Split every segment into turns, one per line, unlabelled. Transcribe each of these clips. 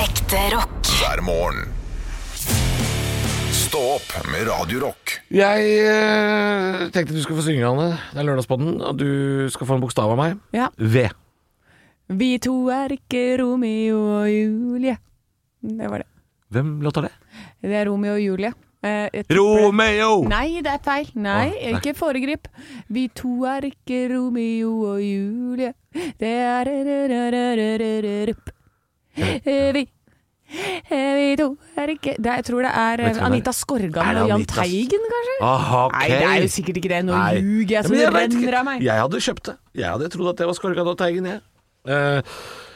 Ekte rock.
hver morgen. Stå opp med Radio Rock.
Jeg eh, tenkte du skulle få synge, Anne. Det er lørdagspodden, og du skal få en bokstav av meg.
Ja.
V.
Vi to er ikke Romeo og Julie. Det var det.
Hvem låter det?
Det er Romeo og Julie. Eh, jeg tipper det-
Romeo!
Nei, det er feil. Nei,
Å, nei.
ikke foregrip. Vi to er ikke Romeo og Julie. Det er rrrrrrrrrrup. Eh, Vi eh, vi to er ikke det, Jeg tror det er
Vet du hvem det
eh,
er?
Anita
Er
Skorgan
det
og Jahn
Anita S-
Teigen, kanskje?
Aha, ok.
Nei, det er jo sikkert ikke det. Nå
Nei.
ljuger jeg
Ja,
som
men
det
vet ikke.
renner av meg.
Jeg hadde kjøpt det. Jeg hadde trodd at det var Skorgan og Teigen, jeg. Eh,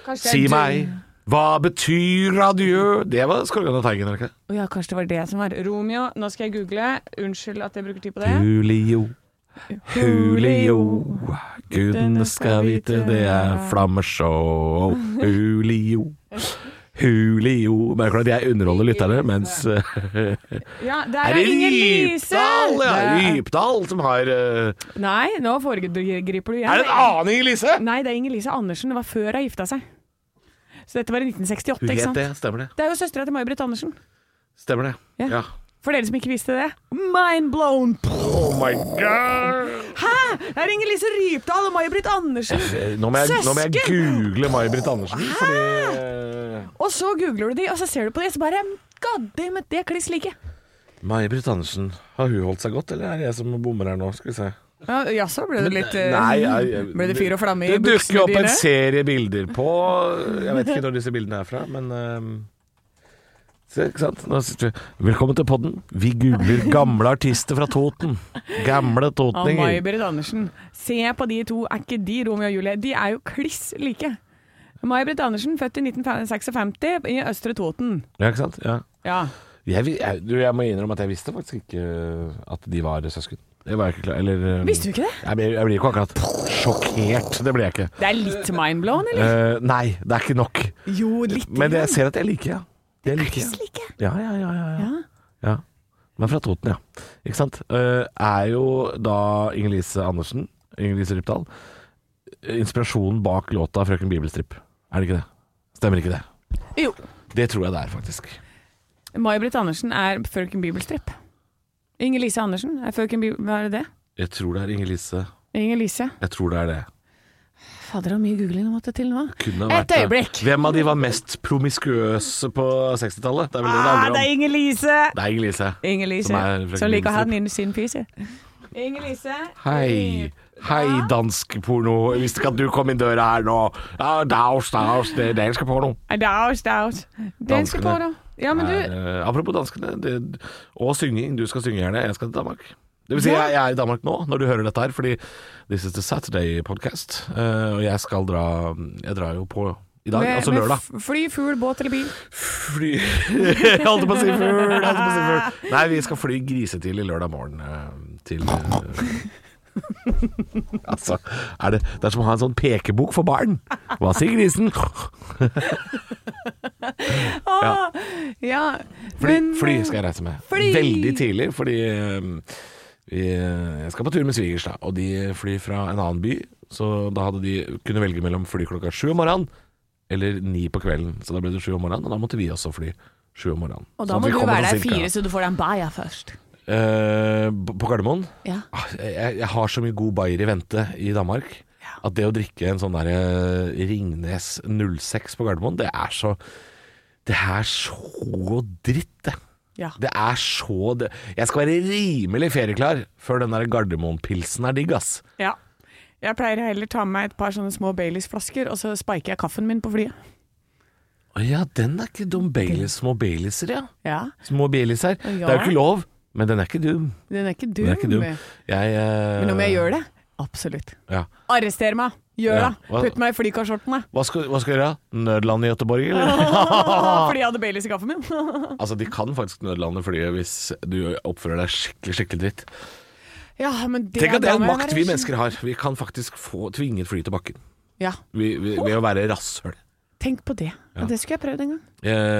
Kanskje det
si
er du-
meg, hva betyr adjø? Det var Skorgan og Teigen, er det ikke?
Å ja, kanskje det var det som var Romeo. Nå skal jeg google. Unnskyld at jeg bruker tid på det.
Julio. Julio, gudene skal vite det er flammeshow. Julio, Julio. Merker du at jeg underholder lytterne, mens eh,
Ja, der er, Inger Lise!
Rypdal,
Det
ja,
er-
Rypdal som har eh,
Nei, nå foregriper du igjen.
Er det en annen Inger Lise?
Nei, det er Inger Lise Andersen. Det var før hun gifta seg. Så dette var i 1968,
Hun
ikke
het
sant?
det, stemmer det.
Det er jo søstera til May-Britt Andersen.
Stemmer det.
Ja.
Ja.
For dere som ikke visste det. Mind blown!
Oh my god!
Hæ! Det er Inger Lise Rypdal og May-Britt Andersen!
Eh, Nå må jeg, nå må jeg
Søsken!
google May-Britt Andersen, fordi eh,
Og så googler du de, og så ser du på de, og så bare Gaddi med det kliss like.
May-Britt Andersen, har hun holdt seg godt, eller er det jeg som bommer her nå? Skal vi se.
Ja, Jaså, ble det litt eh,
Nei, jeg- jeg-
Ble det fyr og flamme i
Det dukker
buksene
opp en
dine?
serie bilder på eh, Jeg vet ikke når disse bildene er fra, men ehm, Se, ikke sant? Nå sitter vi. Velkommen til podden. Vi googler gamle artister fra Toten. Gamle
Av
totninger.
May-Britt Andersen. Se på de to, er ikke de Romeo og Julie? De er jo kliss like. May-Britt Andersen, født i 1956 i Østre Toten.
Ja, ikke sant? Ja.
Ja.
Jeg, vi- jeg, du, jeg må innrømme at jeg visste faktisk ikke øh, at de var søsken. Det var jeg ikke klar Eller ehm,
Visste du ikke det?
Jeg, ble- jeg blir ikke akkurat sjokkert. Det ble jeg ikke.
Det er litt mindblown, eller?
Eh, nei, det er ikke nok.
Jo, litt.
Men det, jeg ser at jeg liker, ja. Det liker jeg.
kliss like.
Ja, ja, ja, ja, ja.
Ja.
ja. Men fra Toten, ja. Ikke sant? Eh, er jo da Inger-Lise Andersen, Inger-Lise Rypdal, eh, inspirasjonen bak låta 'Frøken Bibelstrip'. Er det ikke det? Stemmer ikke det?
Jo.
Det tror jeg det er, faktisk.
May-Britt Andersen er frøken Bibelstripp. Inger-Lise Andersen er frøken Bibel... Hva er det det?
Jeg tror det er Inger-Lise.
Inger-Lise.
Jeg tror det er det.
Fader, det var mye googling det måtte til nå.
Kunne ha
Et
vært det.
øyeblikk.
Hvem av de var mest promiskuøse på 60-tallet? Det er vel det det
Ah,
handler om.
det er Inger-Lise!
Det er Inger-Lise. Som
Inger-Lise,
er frøken
som liker å ha
Bibelstripp.
den inni sin fise. Inger-Lise. eh,
Hei. Hei, dansk porno. Jeg visste ikke at du kom inn døra her nå. Ja, daus, daus, det er dansk porno.
Daus, daus. Danske
Danskene.
på, da. Ja, men du,
er, eh, apropos danskene, det, og synging. Du skal synge gjerne, jeg skal til Danmark. Det vil si, jeg, jeg er i Danmark nå, når du hører dette her, fordi This is the Saturday podcast. eh, og jeg skal dra Jeg drar jo på i dag,
med,
altså
med
lørdag.
f- fly, fugl, båt eller bil.
Fly Jeg Holdt på å si fugl, jeg holdt på å si fugl. Nei, vi skal fly grisetidlig lørdag morgen eh, til eh, Altså, er det, det er som å ha en sånn pekebok for barn. Hva sier grisen?
Ah, ja.
Fly,
men- eh,
fly skal jeg reise med.
Fly!
Veldig tidlig, fordi ehm, vi, eh, jeg skal på tur med svigers, da. Og de flyr fra en annen by, så da hadde de kunne velge mellom fly klokka sju om morgenen eller ni på kvelden. Så da ble det sju om morgenen, og da måtte vi også fly sju om morgenen.
Og
Sånn
da
at
må
vi
du
kommer
være
sånn
der
cirka-
fire, så du får deg en baja først.
Eh, b- på Gardermoen?
Ja.
Ah, Jeg, jeg har så mye god bayer i vente i Danmark. At det å drikke en sånn derre Ringnes 06 på Gardermoen, det er så Det er så dritt, det.
Ja.
Det er så det. Jeg skal være rimelig ferieklar før den der Gardermoen-pilsen er digg, ass.
Ja. Jeg pleier å heller ta med meg et par sånne små Baileys-flasker, og så spiker jeg kaffen min på flyet.
Å ja, den er ikke dum. Baileys, små Baileyser, ja.
Ja,
Små Baileys her. Det er jo ikke lov, men den er ikke dum.
Den er ikke dum.
Den er ikke dum. Jeg eh,
Men om jeg gjør det? Absolutt.
Ja.
Arrester meg! Gjør
Ja.
det! Putt meg i flykasskjortene!
Hva skal, hva skal jeg gjøre? Nødland i Göteborg, eller?
Fordi jeg hadde Baileys i kaffen min.
Altså, de kan faktisk nødlande flyet hvis du oppfører deg skikkelig, skikkelig dritt.
ja, men det
Tenk at det er
da
en
må jeg
makt
være-
vi mennesker har. Vi kan faktisk få tvinge et fly til bakken
Ja,
vi, vi, ved å være rasshøl.
tenk på det. Ja. Det skulle jeg prøvd en gang.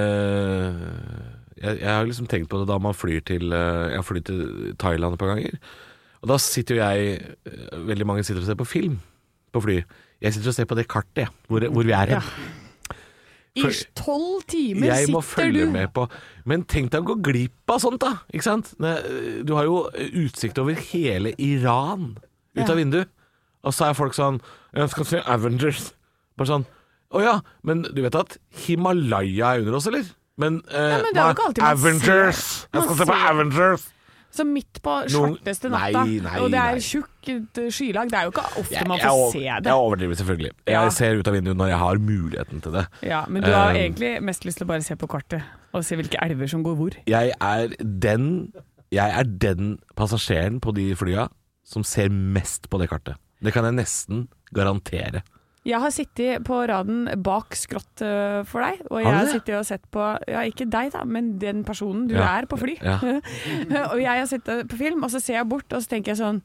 Jeg, jeg, jeg har liksom tenkt på det da man flyr til eh, Jeg har flydd til Thailand et par ganger. Og da sitter jo jeg eh, Veldig mange sitter og ser på film på fly. Jeg sitter og ser på det kartet, jeg, hvor, hvor vi er hen.
I
For-
tolv timer
Jeg må
sitter
følge
du
med på Men tenk deg å gå glipp av sånt, da. Ikke sant? Ne- Du har jo eh, utsikt over hele Iran ut
Ja.
av vinduet. Og så er folk sånn Jeg skal se Avengers. Bare sånn Å ja, men du vet at Himalaya er under oss, eller? Men, eh,
Ja, men det er
nei,
jo ikke alltid man ser-
Avengers! Jeg
man
skal se på
ser-
Avengers!
Så midt på
Noen-
svarteste
Nei,
natta,
nei,
og det
nei.
er tjukk eh, skylag Det er jo ikke ofte man
jeg
får
over-
se
Jeg
det.
overdriver selvfølgelig.
Ja.
Jeg ser ut av vinduet når jeg har muligheten til det.
Ja, men du har
Um,
egentlig mest lyst til å bare se på kartet og se hvilke elver som går hvor.
Jeg er den Jeg er den passasjeren på de flya som ser mest på det kartet. Det kan jeg nesten garantere.
Jeg har sittet på raden bak skrått øh, for deg, og jeg
du
har
det?
sittet og sett på Ja, ikke deg, da, men den personen du
Ja.
er på fly.
Ja.
og jeg har sittet på film, og så ser jeg bort, og så tenker jeg sånn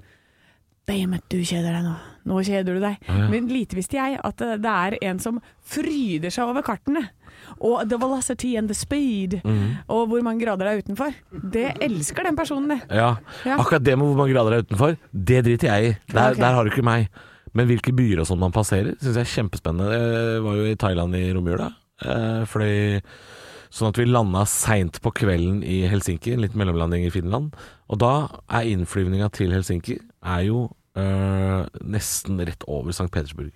Damn it, du kjeder deg nå. Nå kjeder du deg. Men lite visste jeg at det det er en som fryder seg over kartene. Og the velocity and the speed.
Mhm.
Og hvor mange grader det er utenfor. Det elsker den personen, det.
Ja.
Ja.
Akkurat det med hvor mange grader det er utenfor, det driter jeg i. Der,
Ok.
der har du ikke meg. Men hvilke byer og sånn man passerer, syns jeg er kjempespennende. Jeg var jo i Thailand i romjula. eh, Fløy sånn at vi landa seint på kvelden i Helsinki, en liten mellomlanding i Finland. Og da er innflyvninga til Helsinki er jo eh, nesten rett over St. Petersburg.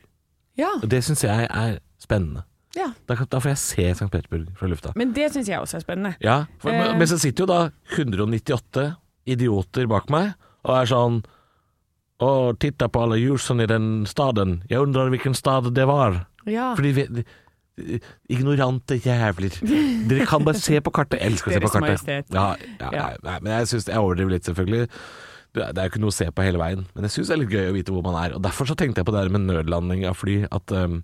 Ja.
Og det syns jeg er spennende.
ja.
Da, kan- da får jeg se St. Petersburg fra lufta.
Men det syns jeg også er spennende.
Ja, for,
Eh.
men, men så sitter jo da 198 idioter bak meg og er sånn Å, titta på alle ljusene i den staden. Jeg undrer hvilken stad det var.
Ja.
Fordi vi, de- ignorante jævler. Dere kan bare se på kartet. Jeg elsker å se på
Deres
kartet.
Majestet.
Ja, ja,
Ja.
nei, Nei, men jeg synes, jeg overdriver litt, selvfølgelig. Det er det er jo ikke noe å se på hele veien, men jeg syns det er litt gøy å vite hvor man er. Og Derfor så tenkte jeg på det her med nødlanding av fly. At ehm,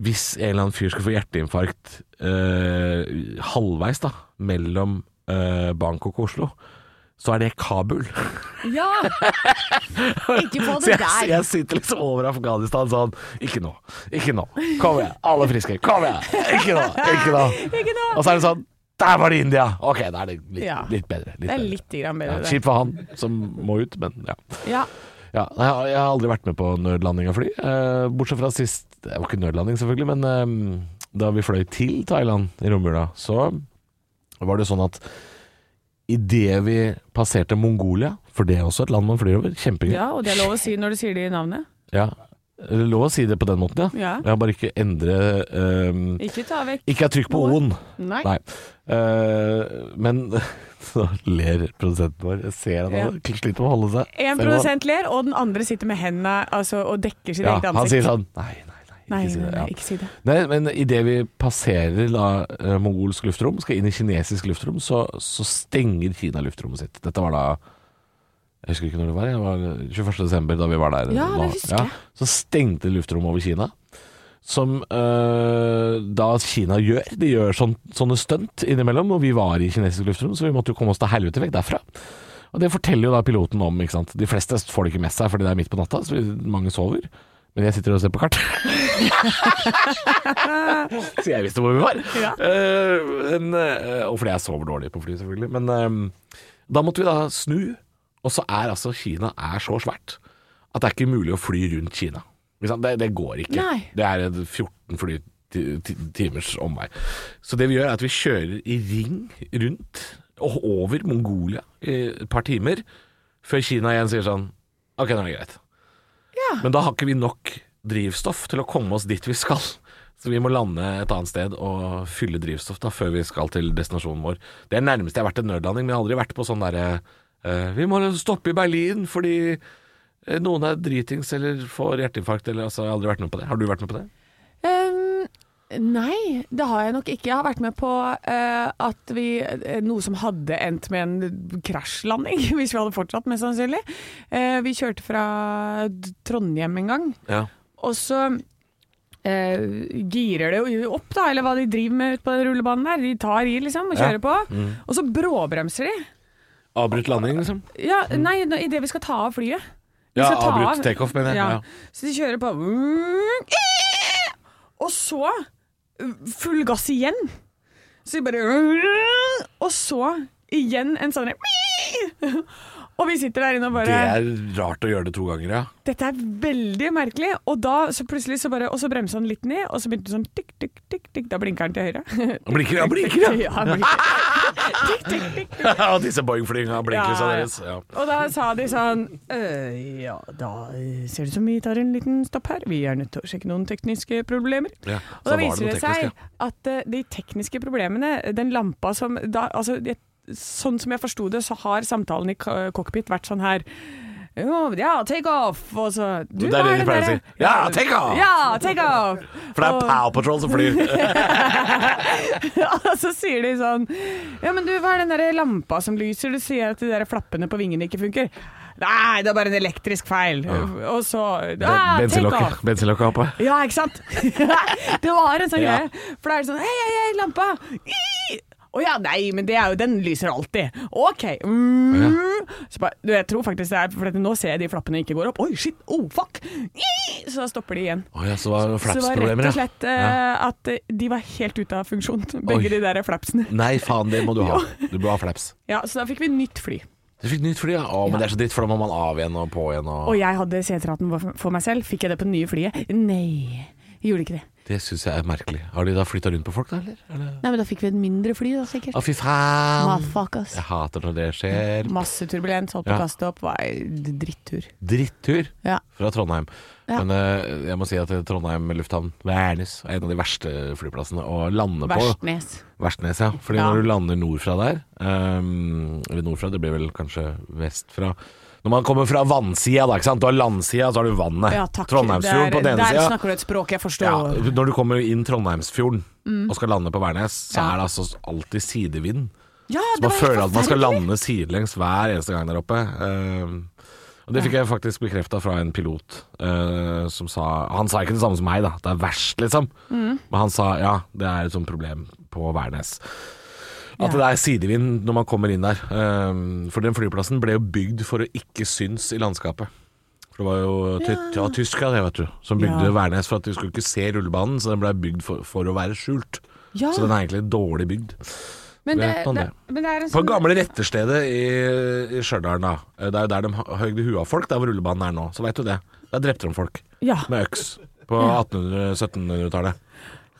hvis en eller annen fyr skulle få hjerteinfarkt eh, halvveis da mellom eh, Bangkok og Oslo, så er det Kabul.
ja. Ikke få
Så
det
jeg,
der.
jeg sitter liksom over Afghanistan sånn Ikke nå, ikke nå. Kom igjen, alle friske. Kom igjen. Ikke nå, ikke nå.
Ikke nå.
Og så er det sånn Der var det India! Ok, da er det litt,
Ja.
litt bedre. Litt
Det er
bedre.
litt grann
Ja,
bedre, det.
Kjipt for han som må ut, men ja.
Ja.
ja nei, jeg, har- jeg har aldri vært med på nødlanding av fly. eh, bortsett fra sist Det var ikke nødlanding, selvfølgelig, men eh, da vi fløy til Thailand i romjula, så var det sånn at idet vi passerte Mongolia, for det er også et land man flyr over, kjempegøy
ja, og det er lov å si når du sier det i navnet.
ja. Er det lov å si det på den måten, ja?
Ja.
Ja, bare ikke endre ehm,
Ikke ta vekk.
Ikke ha trykk på
Noe.
O-en.
Nei.
Nei. Eh, men så ler produsenten vår. Jeg ser at han sliter med å holde seg.
En
Ser du hva?
produsent ler, og den andre sitter med hendene altså, og dekker sitt
ja,
eget
Han
ansikt.
sier sånn Nei, nei, nei. Ikke
Nei,
si
nei,
det.
nei,
Ja.
ikke si det.
Nei, men idet vi passerer da eh, mongolsk luftrom, skal inn i kinesisk luftrom, så, så stenger Kina luftrommet sitt. Dette var da Jeg husker ikke når det var, jeg var 21. desember da vi var der.
Ja, det
Hva-
husker jeg.
Så stengte luftrommet over Kina. Som eh, da Kina gjør. De gjør sånn, sånne stunt innimellom, og vi var i kinesisk luftrom, så vi måtte jo komme oss til helvete vekk derfra. Og det forteller jo da piloten om, ikke sant. De fleste får det ikke med seg fordi det er midt på natta, så vi- mange sover. Men jeg sitter og ser på kart. så jeg visste hvor vi var.
Ja.
Eh, men, eh, og fordi jeg sover dårlig på fly, selvfølgelig. Men eh, da måtte vi da snu, og så er altså Kina er så svært at det er ikke mulig å fly rundt Kina. Ikke sant? Det, det går ikke.
Nei.
Det er en 14 fly ti- ti- timers omvei. Så det vi gjør er at vi kjører i ring rundt og over Mongolia i et par timer, før Kina igjen sier sånn Ok, nå er det greit. Men da har ikke vi nok drivstoff til å komme oss dit vi skal. Så vi må lande et annet sted og fylle drivstoff da før vi skal til destinasjonen vår. Det er nærmeste jeg har vært en nødlanding, men jeg har aldri vært på sånn derre eh, Vi må stoppe i Berlin fordi eh, noen er dritings eller får hjerteinfarkt eller altså, Jeg har aldri vært med på det. Har du vært med på det?
Um, nei, det har jeg nok ikke. Jeg har vært med på eh, at vi eh, Noe som hadde endt med en krasjlanding, hvis vi hadde fortsatt, mest sannsynlig. Eh, vi kjørte fra D- Trondheim en gang,
Ja.
og så eh, girer det jo opp, da, eller hva de driver med ute på den rullebanen der. De tar i, liksom, og
Ja. Mm.
kjører på. Og så bråbremser de.
Avbrutt landing, liksom?
Ja, nei, nå- idet vi skal ta av flyet. Vi
Ja,
skal ta
avbrutt
av-
takeoff, mener jeg.
Ja.
Ja.
Så de kjører på Og så full gass igjen. Så de bare Og så igjen en sånn Og vi sitter der inne og
Det
bare
er rart å gjøre det to ganger, ja.
Dette er veldig merkelig. Og da så plutselig så bare Og så bremsa han litt ned, og så begynte det sånn tikk, tikk, tikk, tikk. Da blinker han til høyre.
Han blinker, han blinker, ja!
ja, han blinker. tikk, tikk, tikk.
Og disse Boeing-flyene blinker seg
Ja, ja.
deres. Ja.
Og da sa de sånn «Øh, Ja, da eh, ser det ut som vi tar en liten stopp her. Vi er nødt til å sjekke noen tekniske problemer.
Ja, så
Og da
var
viser det,
noe
seg
teknisk,
at eh, de tekniske problemene, den lampa som da, altså, jeg, Sånn som jeg forsto det, så har samtalen i ka- cockpit vært sånn her «Jo, Ja, take off! Og så du,
Det er
hva
det de pleier å
der-
si. Ja, take off!
Ja, take off!
ja. For det er Pow Patrol som flyr.
Og så sier de sånn Ja, men du, hva er den der lampa som lyser? Du sier at de der flappene på vingene ikke funker. Nei, det er bare en elektrisk feil. Og så ah, take off.
Bensinlokket- Bensinlokket oppe.
Ja, ikke sant? det var en sånn
Ja.
greie. For da er det sånn Hei, hei, hei, lampa! I! Å ja, nei, men det er jo, den lyser alltid. OK. Mm. Så bare, du, jeg tror faktisk det er For at nå ser jeg de flappene ikke går opp. Oi, shit! Oh, fuck! I! Så da stopper de igjen.
Å ja, så var det
Så det var
flaps-problemer,
rett og
ja.
slett eh, at eh, de var helt ute av funksjon,
Oi.
begge de der flapsene.
Nei, faen, det må du ha. Du bør ha flaps.
Ja, Så da fikk vi nytt fly.
Du fikk nytt fly, ja. Å, men det er så dritt, for da må man av igjen og på igjen
Og
og
jeg hadde seterhatten for- for meg selv. Fikk jeg det på det nye flyet? Nei, jeg gjorde ikke det.
Det syns jeg er merkelig. Har de da flytta rundt på folk, da, eller? eller?
Nei, men da fikk vi et mindre fly, da, sikkert.
Å, fy faen.
Motherfuckers.
Jeg hater når det skjer.
Masse turbulens, holdt på
Ja.
å kaste opp. Var en drittur.
Drittur
Ja.
fra Trondheim.
Ja.
Men eh, jeg må si at Trondheim lufthavn, Værnes, er en av de verste flyplassene å lande på.
Verstnes.
Vestnes, ja. Fordi
Ja.
når du lander nordfra der ehm, Eller nordfra, det blir vel kanskje vestfra. Når man kommer fra vannsida, da. ikke sant? Du har landsida, så har du vannet.
Ja, takk.
Trondheimsfjorden
der,
på den ene
der
sida.
snakker du et språk jeg forstår.
Ja, når du kommer inn Trondheimsfjorden og skal lande på Værnes, så
Mm. Ja.
er det altså alltid sidevind.
Ja,
Så
det
man
var helt
føler at man skal
forferdelig.
lande sidelengs hver eneste gang der oppe. Ehm, og Det fikk jeg faktisk bekrefta fra en pilot eh, som sa Han sa ikke det samme som meg, da. Det er verst, liksom.
Mm.
Men han sa ja, det er et sånt problem på Værnes. At det er sidevind når man kommer inn der. Ehm, for den flyplassen ble jo bygd for å ikke synes i landskapet. For det var jo ty ja. tyskere, det, vet du, som bygde
Ja.
Værnes for at de skulle ikke se rullebanen. Så den ble bygd for, for å være skjult.
Ja.
Så den er egentlig dårlig bygd.
Men det,
Vet man
det,
det?
men det er en
På
sånn
gamle retterstedet i, i Stjørdal, da. eh, Det er jo der de ha- høgde huet av folk, der hvor rullebanen er nå. Så veit du det. Der drepte de folk
Ja.
med øks på 1800-1700-tallet.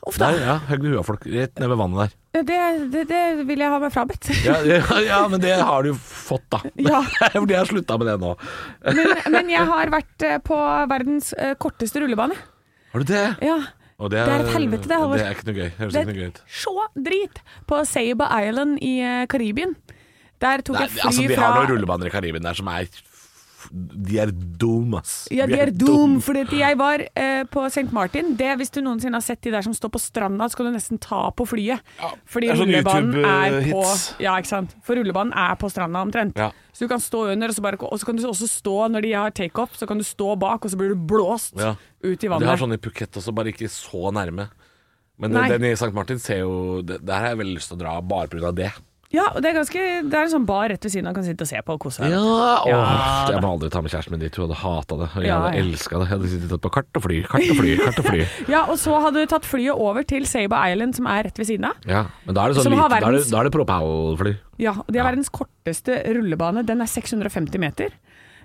Uff da.
Der, ja. Høgde huet av folk. Rett ned ved vannet der.
Det, det, det vil jeg ha meg frabedt.
Ja, ja, ja, men det har du jo fått, da.
Ja.
For de har slutta med det nå.
Men, men jeg har vært eh, på verdens eh, korteste rullebane.
Har du det?
Ja.
Og
Det er et helvete, det, Halvor.
Det er ikke noe gøy. Høres
Det
ikke noe gøy
er
ut.
så drit på Seiba Island i eh, Karibien. Der tok
Nei,
jeg fly
altså, de
fra
har noen rullebaner i Karibien der som er f- De er dum, ass.
Ja,
Vi
de er dum, fordi at jeg var eh, på St. Martin. Det, hvis du noensinne har sett de der som står på stranda, skal du nesten ta på flyet.
det
fordi
er sånn
rullebanen er på
YouTube-hits.
Ja, ikke sant. For rullebanen er på stranda omtrent.
Ja.
Så du kan stå under, og så, bare, og så kan du også stå når de har takeoff, så kan du stå bak, og så blir du blåst
Ja.
ut
De
i
har
vannet.
sånn i Phuket også, bare ikke så nærme. Men
Nei.
den i St. Martin ser jo det- Der har jeg veldig lyst til å dra bare pga. det.
Ja, og det er, ganske, det er en sånn bar rett ved siden av, kan sitte og se på og kose deg.
åh,
Ja,
jeg må aldri ta med kjæresten min dit. Hun hadde hata det. Og jeg
Ja,
hadde
ja.
elska det. Jeg hadde sittet på kart og fly, kart og fly, kart og fly.
Ja, og så hadde du tatt flyet over til Seiba Island, som er rett ved siden av.
Ja, Men da er det sånn
Som har
lite Da er det,
verdens-
da er det propellfly.
Ja, og det er verdens korteste rullebane. Den er 650 meter.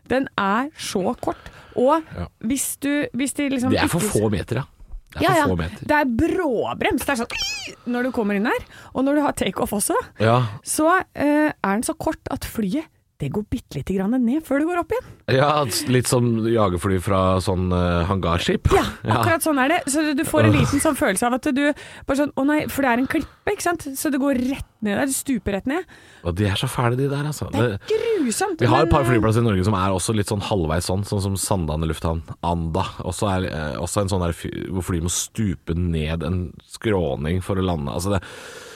Den er så kort. Og
Ja.
hvis du hvis de liksom
Det er for
ikke-
få meter, ja. Det er
ja, ja.
for få meter.
Det er bråbrems. Det er sånn «Ii!» når du kommer inn her. Og når du har takeoff også,
Ja,
så eh, er den så kort at flyet det går bitte lite grann ned før det går opp igjen.
ja litt som jagerfly fra sånn eh, hangarskip.
Ja, akkurat sånn er det. Så du får en liten sånn følelse av at du bare sånn Å nei, for det er en klippe, ikke sant. Så det går rett ned der. Du stuper rett ned.
Og de er så fæle, de der, altså.
Det er
Det,
grusomt.
Vi har et
men,
par
eh,
flyplasser i Norge som er også litt sånn halvveis sånn, sånn som Sandane lufthavn, Anda. Også, er, eh, også en sånn der fy, hvor fly må stupe ned en skråning for å lande. Altså det,
eh,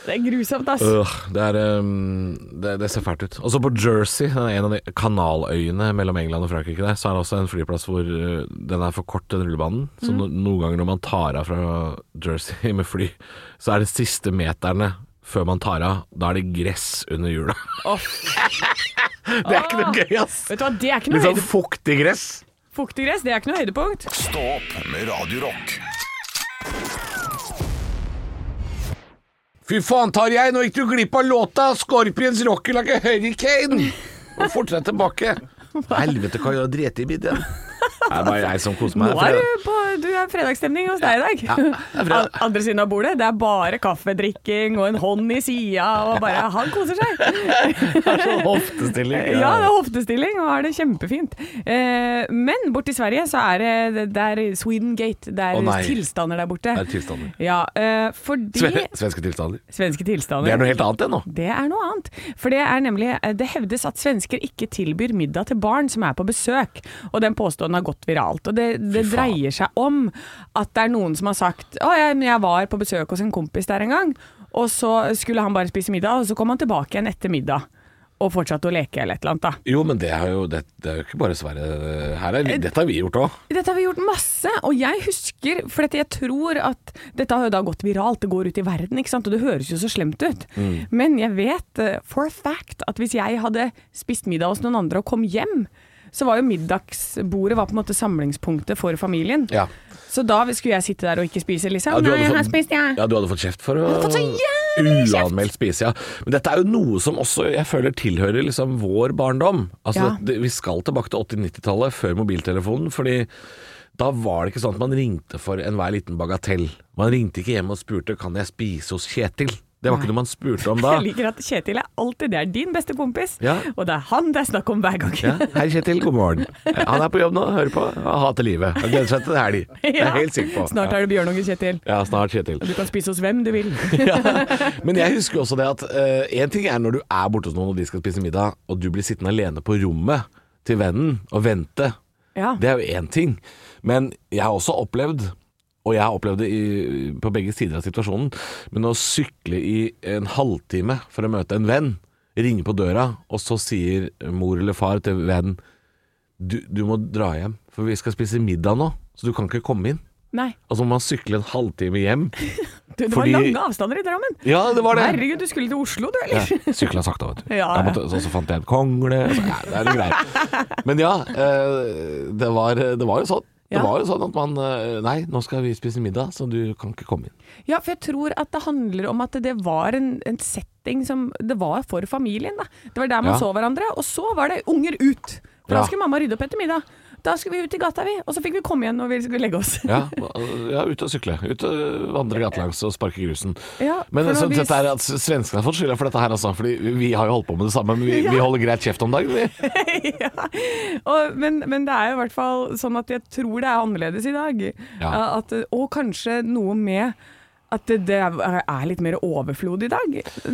Det er grusomt, ass.
øh, det, er, eh, det, det ser fælt ut. Også på Jersey, den er en av de kanaløyene mellom England og Frankrike der, så er det også en flyplass hvor eh, den er for kort, den rullebanen.
Mm.
Så no, noen ganger når man tar av fra Jersey med fly, så er det siste meterne før man tar av, da er det gress under hjula. det er ikke noe gøy, ass!
Vet du hva, det er ikke noe
Litt sånn
høyde,
fuktig gress.
fuktig gress, det er ikke noe høydepunkt.
Stå opp med Radio Rock.
Fy faen, Tarjei, nå gikk du glipp av låta 'Scorpions Rockerlakke Hurricane'. Og fort deg tilbake! Helvete, hva gjør jeg drete i midjen? Det er bare jeg som koser
Nå
meg.
er
for
du på du er fredagsstemning hos deg i dag. An- Andre siden av bordet, det er bare kaffedrikking og en hånd i sida, og bare han koser seg.
det er sånn hoftestilling.
Ja, det er hoftestilling og har det kjempefint. Eh, Men borti Sverige så er det, det er Sweden Gate. Det er
Å, nei.
tilstander der borte.
Det er tilstander.
Ja, eh, fordi
Sve svenske tilstander.
Svenske tilstander.
Det er noe helt annet enn nå.
Det er noe annet. For det er nemlig eh, Det hevdes at svensker ikke tilbyr middag til barn som er på besøk, og den påstånden har gått viralt. Og det,
Fy
det
faen.
dreier seg om at det er noen som har sagt Å, jeg, men jeg var på besøk hos en kompis der en gang, og så skulle han bare spise middag, og så kom han tilbake igjen etter middag. Og fortsatte å leke eller et eller annet, da.
Jo, men det er jo, det, det er jo ikke bare Sverige. Her er vi, dette har vi gjort òg.
Dette har vi gjort masse, og jeg husker, for dette, jeg tror at dette har jo da gått viralt, det går ut i verden, ikke sant, og det høres jo så slemt ut.
Mm.
Men jeg vet eh, for a fact at hvis jeg hadde spist middag hos noen andre og kom hjem, så var jo middagsbordet var på en måte samlingspunktet for familien.
Ja.
Så da skulle jeg sitte der og ikke spise, liksom.
Ja, du hadde
Nei,
fått-
her spiste jeg.
Ja, du hadde fått kjeft for å
hadde fått så jævlig kjeft!
uanmeldt spise, ja. Men dette er jo noe som også jeg føler tilhører liksom vår barndom. Altså,
Ja.
det, Vi skal tilbake til 80-90-tallet, før mobiltelefonen. fordi da var det ikke sånn at man ringte for enhver liten bagatell. Man ringte ikke hjem og spurte 'kan jeg spise hos Kjetil'? Det var ikke noe man spurte om da.
Jeg liker at Kjetil er alltid det er din beste kompis,
Ja.
og det er han det er snakk om hver gang.
Ja, Hei, Kjetil, god morgen. Han er på jobb nå, hører på og hater livet. Han gleder seg til helg. Det er jeg helt sikker på.
Snart er det Bjørnungen, Kjetil.
Ja, snart Kjetil.
Du kan spise hos hvem du vil.
Men jeg husker også det at én ting er når du er borte hos noen og de skal spise middag, og du blir sittende alene på rommet til vennen og vente.
Ja.
Det er jo én ting. Men jeg har også opplevd, og jeg har opplevd det i, på begge sider av situasjonen, men å sykle i en halvtime for å møte en venn, ringe på døra, og så sier mor eller far til vennen du, du må dra hjem, for vi skal spise middag nå, så du kan ikke komme inn.
Nei.
Og så må man sykle en halvtime hjem.
Du, det
Fordi-
var lange avstander i Drammen.
Ja, det var det.
Herregud, du skulle til Oslo du, eller?
Ja, sykla sakte, vet du.
Ja, ja.
Jeg måtte, så, så fant jeg en kongle. og Så, ja, det er litt greier. Men ja, eh, det var, det var jo sånn.
Ja.
Det var jo sånn at man eh, Nei, nå skal vi spise middag, så du kan ikke komme inn.
Ja, for jeg tror at det handler om at det var en, en setting som Det var for familien, da. Det var der man
Ja.
så hverandre. Og så var det unger ut! For
Ja.
da skulle mamma rydde opp etter middag. Da skulle vi ut i gata, vi. Og så fikk vi komme igjen når vi skulle legge oss.
Ja, eh, ja ut og sykle. Ut og vandre gatelangs og sparke grusen.
Ja,
men
for
så,
når vi-
dette er at svenskene har fått skylda for dette her, altså. Fordi vi- vi har jo holdt på med det samme, men vi, vi holder greit kjeft om dagen, vi.
ja. og, men, men det er jo i hvert fall sånn at jeg tror det er annerledes i dag.
Ja.
Eh, At, og kanskje noe med at det, det er litt mer overflod i dag.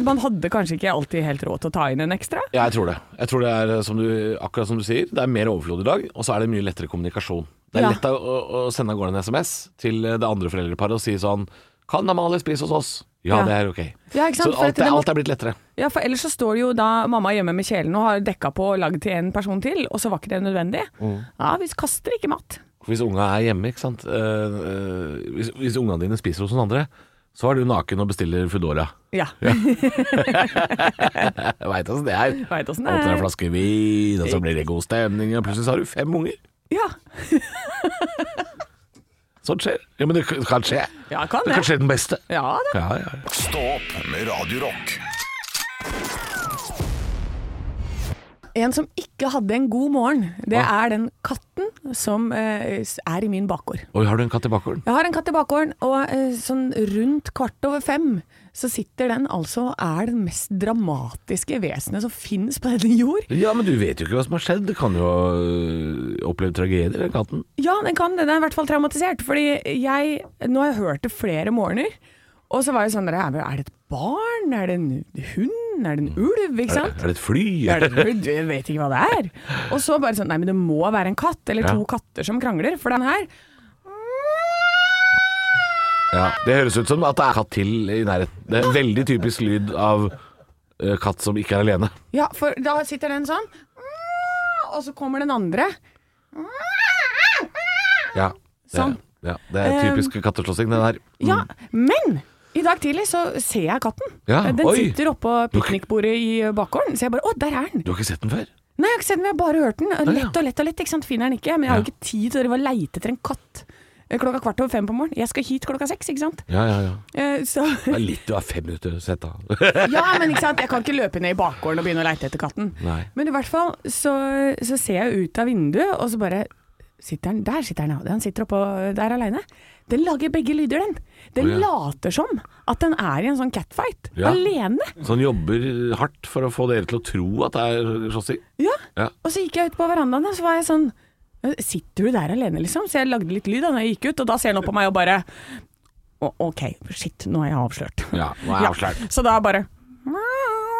Man hadde kanskje ikke alltid helt råd til å ta inn en ekstra.
Ja, jeg tror det. Jeg tror det er eh, som du, akkurat som du sier, det er mer overflod i dag, og så er det mye lettere kommunikasjon. Det er
Ja.
lett å, å- å sende av gårde en SMS til eh, det andre foreldreparet og si sånn Kan Amalie spise hos oss? Ja,
Ja.
det er ok.
Ja, ikke sant?
Så
For
alt,
at det
er-
må-
alt er blitt lettere.
Ja, for ellers så står det jo da mamma hjemme med kjelen og har dekka på og lagd til en person til, og så var ikke det nødvendig.
Mm.
Ja, vi kaster ikke mat.
Hvis unga er hjemme, ikke sant eh, eh, Hvis, hvis ungene dine spiser hos noen andre, så er du naken og bestiller Foodora.
Ja,
Jeg veit åssen det er.
Vet åssen det
Åpner
er.
en flaske vin, og så blir det god stemning, og plutselig så har du fem unger.
ja.
Sånt skjer. Ja, men det kan kan skje.
ja kan
Det
det.
kan skje den beste.
Ja da.
Ja, ja, ja.
Stå opp med Radio Rock.
En som ikke hadde en god morgen, det er den katten som eh, er i min bakgård.
Oi, har du en katt i bakgården?
Jeg har en katt i bakgården, og eh, sånn rundt kvart over fem så sitter den altså og er det mest dramatiske vesenet som finnes på denne jord.
Ja, men du vet jo ikke hva som har skjedd. Det kan jo ha øh, opplevd tragedier, den katten.
Ja, den kan det. Den er i hvert fall traumatisert. Fordi jeg Nå har jeg hørt det flere morgener. Og så var jeg sånn der, Er det et barn? Er det en hund? Er det en ulv? Ikke sant?
Er det et fly?
Er det, jeg vet ikke hva det er. Og så bare sånn Nei, men det må være en katt. Eller
Ja.
to katter som krangler. For den her
Ja, det høres ut som at det er katt til i nærheten. Det er en veldig typisk lyd av øh, katt som ikke er alene.
Ja, for da sitter den sånn. Og så kommer den andre.
Ja, det,
Sånn.
ja, det er typisk katteslåssing, det der.
Ja, men i dag tidlig så ser jeg katten.
Mm. Ja,
den
oi.
sitter oppå piknikbordet i bakgården. Så jeg bare Å, der er den!
Du har ikke sett den før?
Nei, jeg har ikke sett den, men jeg har bare hørt den.
ja.
Lett og lett og lett, ikke sant. Finner den ikke. Men jeg har jo ikke tid til å drive og leite etter en katt Eh, klokka kvart over fem på morgenen. Jeg skal hit klokka seks, ikke sant.
Ja, ja, ja.
Eh, Så,
Det er litt du er fem minutter sett, da.
ja, men ikke sant. Jeg kan ikke løpe ned i bakgården og begynne å leite etter katten.
Nei.
Men i hvert fall så, så ser jeg ut av vinduet, og så bare sitter han Der sitter han, ja. Han sitter oppå der aleine. Den lager begge lyder, den.
Å,
Den
ja.
later som at den er i en sånn catfight.
Ja.
Alene.
Så han Sånn jobber hardt for å få dere til å tro at det er slåssing?
Ja.
Ja.
Og så gikk jeg ut på verandaen, og så var jeg sånn Sitter du der alene, liksom? Så jeg lagde litt lyd da når jeg gikk ut, og da ser han opp på meg og bare «Å, OK, shit, nå er jeg avslørt.
Ja, nå er jeg avslørt.
Så da bare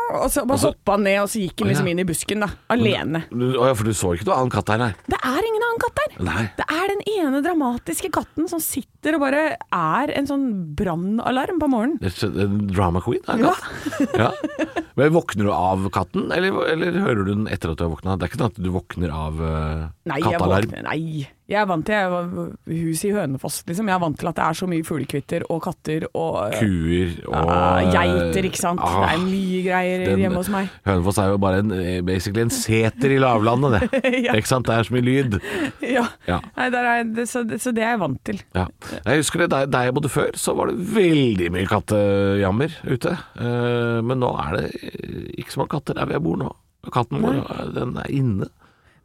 Og så bare
så-
hoppa han ned, og så gikk han
Å,
liksom
ja.
inn i busken, da. Alene.
Du, å ja, for du så ikke noe annen katt her, nei?
Det er ingen annen katt der.
Nei.
Det er den ene dramatiske katten som sitter og bare er en sånn brannalarm på morgenen.
Det er En drama queen er en katt? Ja. Men våkner du av katten, eller, eller hører du den etter at du har våkna? Det er ikke sånn at du våkner av eh,
Nei, jeg,
kattalarm?
våkner- nei. jeg er vant til jeg var, huset i Hønefoss, liksom. Jeg er vant til at det er så mye fuglekvitter og katter og
Kuer og
ah, geiter, ikke sant.
Ah,
det er mye greier
den-
hjemme hos meg.
Hønefoss er jo bare en, eh, basically en seter i lavlandet, det.
Ja.
Ikke sant? Det er så mye lyd.
Ja.
Ja.
Nei, der er, det, så, så det er jeg vant til.
Ja. Jeg husker det, der- der jeg bodde før, så var det veldig mye kattejammer ute. Eh, Men nå er det eh, ikke så mange katter der hvor jeg bor nå. Katten vår eh, den er inne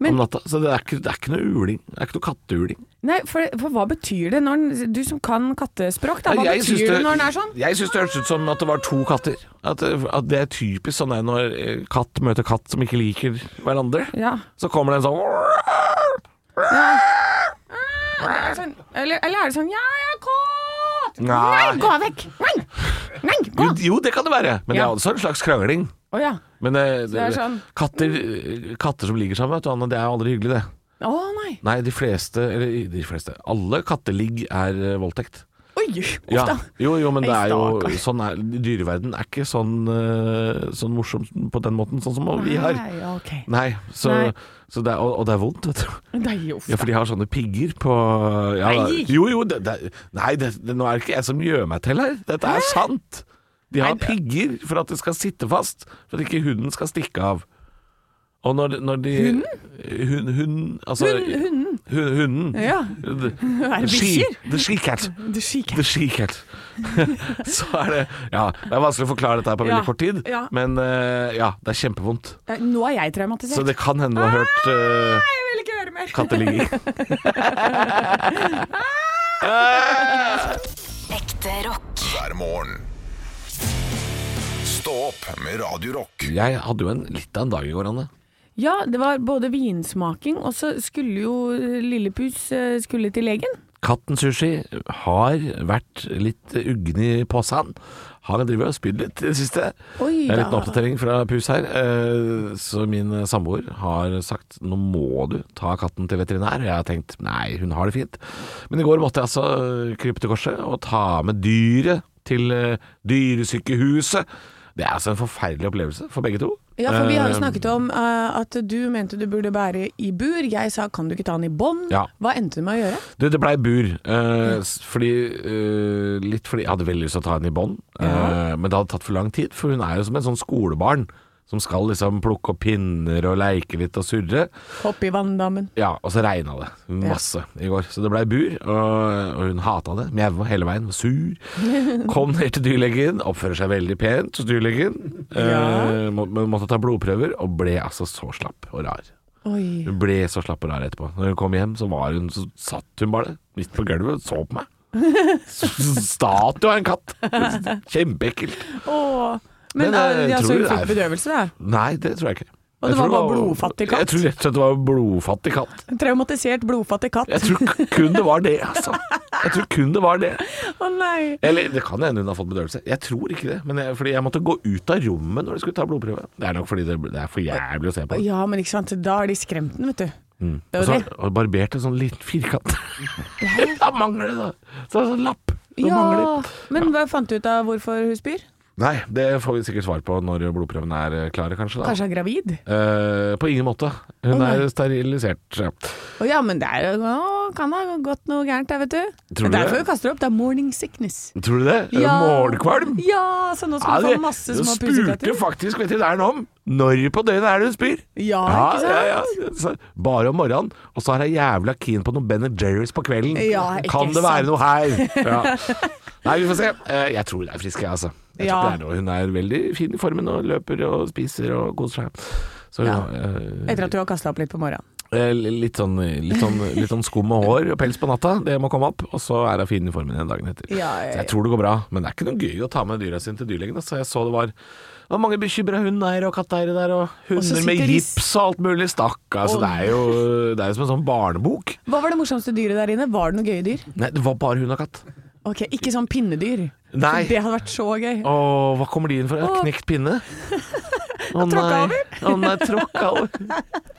Men-
om natta, så det er, ikke, det er ikke noe uling. Det er ikke noe katteuling.
Nei, for, for hva betyr det når den Du som kan kattespråk, da. Hva
Jeg
betyr
syns
det, når den er sånn?
Jeg syns det hørtes ut som at det var to katter. At, det- at det er typisk sånn der når eh, katt møter katt som ikke liker hverandre.
Ja.
Så kommer det en sånn
Er det sånn eller, eller er det sånn Ja, jeg er kåt!
Nei.
gå vekk! Nei! Nei, gå!
Jo, jo, det kan det være, men det
Ja.
er også en slags krangling.
Å ja.
Men eh,
det er sånn-
katter, eh, katter som ligger sammen, vet du, Anne, det er aldri hyggelig, det.
Å nei.
Nei, de fleste, eller de fleste Alle katteligg er eh, voldtekt.
Oi, uff da.
Jo, jo, men det
Ei
er jo
stakkar.
sånn er, Dyreverden er ikke sånn, eh, sånn morsom på den måten, sånn som vi har.
Nei, ok.
Nei, så,
Nei.
Så det er, og, og det er vondt, vet du.
Nei, uff
Ja, for
da.
de har sånne pigger på ja,
Nei!
Jo, jo, det, det, nei, det, det, nå er det ikke jeg som gjør meg til her. Dette er sant. De har
Nei, det-
pigger for at det skal sitte fast, for at ikke hunden skal stikke av. Og når, når de Hun, hun, altså,
Hun- hunden.
Hun- hunden.
Ja.
The,
Er
the,
det
she,
bikkjer?
the she cat.
Du skikker.
The she cat. Så er det Ja, det er vanskelig å forklare dette her på
Ja,
veldig kort tid,
ja.
men eh, ja, det er kjempevondt.
Eh, Nå er jeg
Så
traumatisert.
det kan hende du har hørt eh,
Jeg vil ikke høre mer.
katteligging.
Ekte rock.
hver morgen. Stå opp med Radio Rock.
Jeg hadde jo en litt av en dag i går, Anne.
Ja, det var både vinsmaking, og så skulle jo eh, Lillepus eh, skulle til legen.
Katten Sushi har vært litt uggen i posen. Han driver og spydd litt i det siste.
Oi
Det er en liten
da.
oppdatering fra Pus her. Eh, Så min samboer har sagt nå må du ta katten til veterinær. Og jeg har tenkt nei, hun har det fint. Men i går måtte jeg altså krype til korset og ta med dyret til eh, dyresykehuset. Det er altså en forferdelig opplevelse for begge to.
Ja, for vi har jo
Eh,
snakket om eh, at du mente du burde bære i bur. Jeg sa kan du ikke ta den i bånd?
Ja.
Hva endte du med å gjøre?
Du, det blei bur. eh, s- fordi, eh, litt fordi jeg hadde veldig lyst til å ta henne i bånd, eh, men det hadde tatt for lang tid. For hun er jo som en sånn skolebarn som skal liksom plukke opp pinner og leike litt og surre.
Hoppe i vanndammen.
Ja, og så regna det masse i går. Så det blei bur, og, og hun hata det. Mjaua hele veien, var sur. Kom ned til dyrlegen, oppfører seg veldig pent hos dyrlegen. eh, må, men måtte ta blodprøver, og ble altså så slapp og rar.
Oi.
Hun ble så slapp og rar etterpå. Når hun kom hjem, så, var hun, så satt hun bare midt på gulvet og så på meg. Statue av en katt! Kjempeekkelt.
Åh. Men,
Men, eh,
eh, ja,
tror
så
du
hun
det
fikk
er-
bedøvelse, da?
Nei, det tror jeg ikke.
Og
Jeg
det var
tror
bare blodfattig katt?
Jeg tror rett og slett det var blodfattig katt.
En traumatisert, blodfattig katt.
Jeg tror k- kun det var det, altså. Jeg tror kun det var det.
Å nei.
Eller det kan hende hun har fått bedøvelse. Jeg tror ikke det. Men jeg, fordi jeg måtte gå ut av rommet når de skulle ta blodprøve. Det er nok fordi det, det er for jævlig å se på. Mm.
Ja, men ikke sant. Da har de skremt den, vet du. Det
Og
var
så
det.
og barbert en sånn liten firkant. Da mangler det, da. Så en sånn lapp. Så mangler.
Ja, men hva fant du ut av hvorfor hun spyr?
Nei, det får vi sikkert svar på når blodprøvene er eh, klare, kanskje. da
Kanskje hun er gravid?
Eh, På ingen måte. Hun
Å, nei.
er sterilisert. ja.
Å ja, men det er, å, kan ha gått noe gærent der, vet du.
Tror du
det er derfor
det?
hun kaster opp. Det er morning sickness.
Tror du det? Er det Morgenkvalm?
Ja, så nå skal hun
Ja,
få masse
det
små
spurte
pusekatter.
faktisk veterinæren om. Når på døgnet er det hun spyr?
Ja, ikke sant?
ja, ja. Så Bare om morgenen, og så er hun jævla keen på noen Ben Jerry's på kvelden.
Ja, ikke
kan det være
sant?
noe her? Ja. Nei, vi får se. Eh, Jeg tror hun er frisk, jeg, altså. Jeg
Ja.
tror det er noe. Hun er veldig fin i formen og løper og spiser og koser seg. Så,
Ja.
eh,
Etter at du har kasta opp litt på morgenen.
Eh, Litt sånn, litt sånn, litt sånn skum og hår og pels på natta, det må komme opp. Og så er hun fin i formen igjen dagen etter.
Ja, ja, ja.
Så jeg tror det går bra, men det er ikke noe gøy å ta med dyra sine til dyrlegen. Så jeg så det var, det var mange bekymra hundeeiere og katteeiere der, og
så
hunder med
sitter de s-
gips og alt mulig. Stakkar. Så det er jo det er jo som en sånn barnebok.
Hva var det morsomste dyret der inne? Var det noe gøye dyr?
Nei, det var bare hund og katt.
Ok, Ikke sånn pinnedyr.
Nei.
For Det hadde vært så gøy.
Å, hva kommer de inn for? En
Å.
knekt pinne? Å
tråkka over.
Å nei, tråkka over.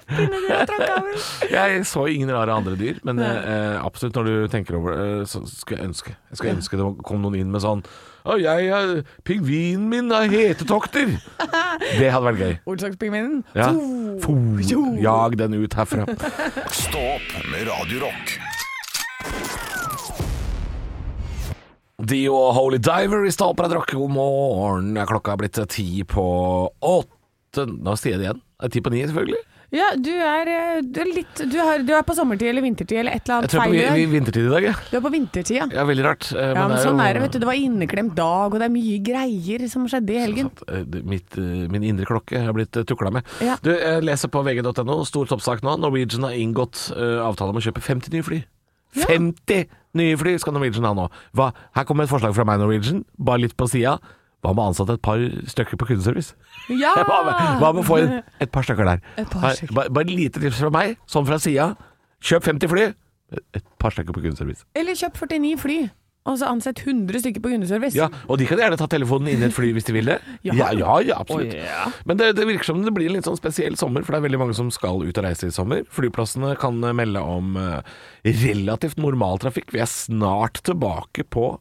Pinnedyr har tråkket over.
Jeg så ingen rare andre dyr, men eh, absolutt når du tenker over det, eh, så skulle jeg ønske Jeg skulle ønske det kom noen inn med sånn Å, jeg er Pingvinen min er hetetokter! Det hadde vært gøy.
Olsakspingvinen.
Ja.
Fo.
Fo,
Jo.
jag den ut herfra.
Stå opp med Radio Rock.
Dio og Holy Diver i Stapra Drakke, god morgen. Klokka er blitt eh, ti på åtte Nå sier jeg det igjen. Det er ti på ni, selvfølgelig.
Ja, du er, eh, du er litt du er, du er på sommertid eller vintertid eller et eller
Jeg
annet
tror
feil.
på
i
vi, vi
dag.
vintertid i dag, jeg.
Du er på vintertid, ja.
Ja, veldig rart. eh,
Ja, men sånn
jo-
er det, vet du. Det var inneklemt dag, og det er mye greier som skjedde i helgen.
Sant. Eh, det- Mitt, eh, min indre klokke er blitt tukla med.
Ja.
Du, jeg leser på vg.no, stor toppsak nå. Norwegian har inngått eh, avtale om å kjøpe 50 nye fly. 50 nye fly skal Norwegian ha nå. Hva? Her kommer et forslag fra meg, Norwegian, bare litt på sida. Hva med å ansette et par stykker på kundeservice?
Ja!
Hva med, hva med å få inn et par stykker der?
Et par
Bare-
stykker.
Bare bare et lite tips fra meg, sånn fra sida. Kjøp 50 fly, et par stykker på kundeservice.
Eller kjøp 49 fly, og så ansett 100 stykker på kundeservice.
Ja, og de kan gjerne ta telefonen inn i et fly hvis de vil det.
Ja.
ja, ja, ja absolutt.
Å, ja.
Men det, det virker som det blir en litt sånn spesiell sommer, for det er veldig mange som skal ut og reise i sommer. Flyplassene kan eh, melde om eh, relativt normal trafikk. Vi er snart tilbake på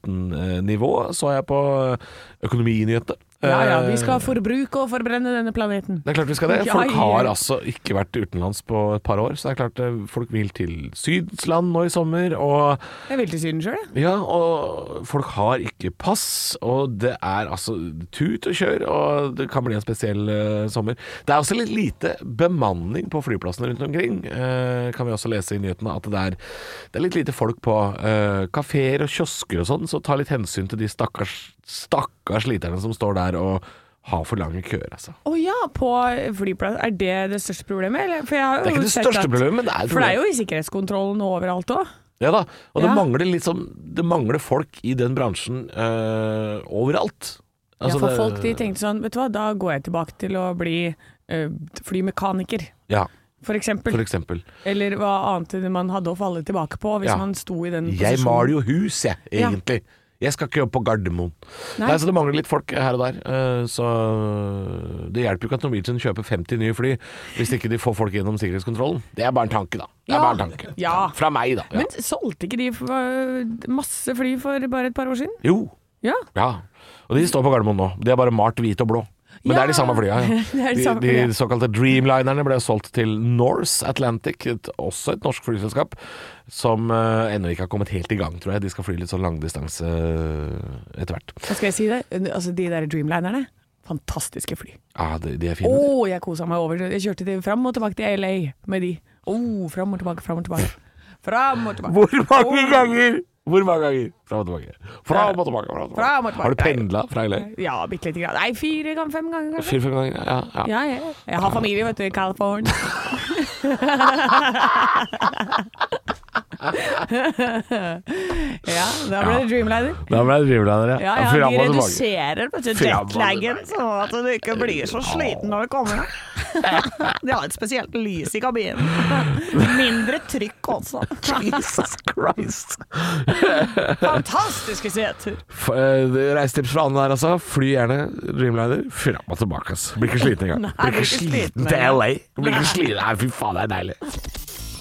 2019-nivå, så jeg på eh, økonominyhetene.
ja, ja.
Eh,
Vi skal forbruke og forbrenne denne planeten.
det er klart vi skal det.
Ja,
Folk har
ja.
altså ikke vært utenlands på et par år, så det er klart eh, folk vil til Sydsland nå i sommer, og
Jeg vil til Syden sjøl, jeg.
ja, og folk har ikke pass, og det er altså tut og kjør, og det kan bli en spesiell eh, sommer. Det er også litt lite bemanning på flyplassene rundt omkring, eh, kan vi også lese i nyhetene, at det er, det er litt lite folk på uh, kaféer og kiosker og sånn, så ta litt hensyn til de stakkars, stakkars sliterne som står der og har for lange køer, altså.
Å ja, på flyplass. Er det det største problemet? Eller? For jeg har jo
Det er ikke det
sett
største
at-
problemet, men det er et
For det er
problem.
jo i sikkerhetskontrollen og overalt òg.
Ja da, og det,
Ja.
mangler liksom, det mangler folk i den bransjen eh, overalt.
Ja,
Altså,
for
det-
folk de tenkte sånn, vet du hva, da går jeg tilbake til å bli eh, flymekaniker,
Ja,
for eksempel.
for eksempel.
Eller hva annet man hadde å falle tilbake på hvis
Ja.
man sto i den
Jeg
posisjonen.
maler jo hus, jeg,
Ja.
egentlig. Jeg skal ikke jobbe på Gardermoen. Nei.
Nei.
så Det mangler litt folk her og der. eh, Så det hjelper jo ikke at Norwegian kjøper 50 nye fly hvis ikke de får folk gjennom sikkerhetskontrollen. Det er bare en tanke, da. Det er
Ja.
bare en tanke.
Ja.
Fra meg, da. Ja.
Men solgte ikke de eh, masse fly for bare et par år siden?
Jo.
Ja.
Ja. Og de står på Gardermoen nå. De er bare malt hvit og blå. Men det er de
Ja.
samme flya. Ja.
Det er de
de,
samme
de
flya.
såkalte Dreamlinerne ble solgt til Norse Atlantic, et, også et norsk flyselskap, som eh, ennå ikke har kommet helt i gang, tror jeg. De skal fly litt sånn langdistanse eh, etter hvert.
Hva skal jeg si det? Altså, de der Dreamlinerne, fantastiske fly.
Ja, de, de er
Å,
fine.
jeg kosa meg over. Jeg kjørte til, fram og tilbake til LA med de. Å, fram og tilbake, fram og tilbake. Fram og tilbake.
Hvor mange ganger? Hvor mange ganger? Fram og tilbake. Fram og tilbake. Fram og tilbake.
Fram og tilbake.
Har du pendla fra LA?
Ja, bitte lite grann. Nei, fire ganger, fem ganger kanskje.
Fire-fem ganger? Ja, ja.
Ja, ja. Jeg har familie, vet du, i California. ja, da ble det Dreamliner.
Da ble det drivliner,
Ja, ja,
Fram
de
og tilbake.
reduserer vet du,
Fram og
jetlagen, sånn at du ikke blir så sliten når du kommer hjem. De har et spesielt lys i kabinen. Mindre trykk også.
Jesus Christ.
Fantastiske seter.
F eh, det- reisetips fra Anne der, altså. Fly gjerne Dreamliner. Fram og tilbake, ass. Blir ikke sliten engang.
Nei,
Blir ikke
blir ikke
sliten
sliten
til
engang.
LA. Blir ikke sliten. Nei, fy faen, det er deilig.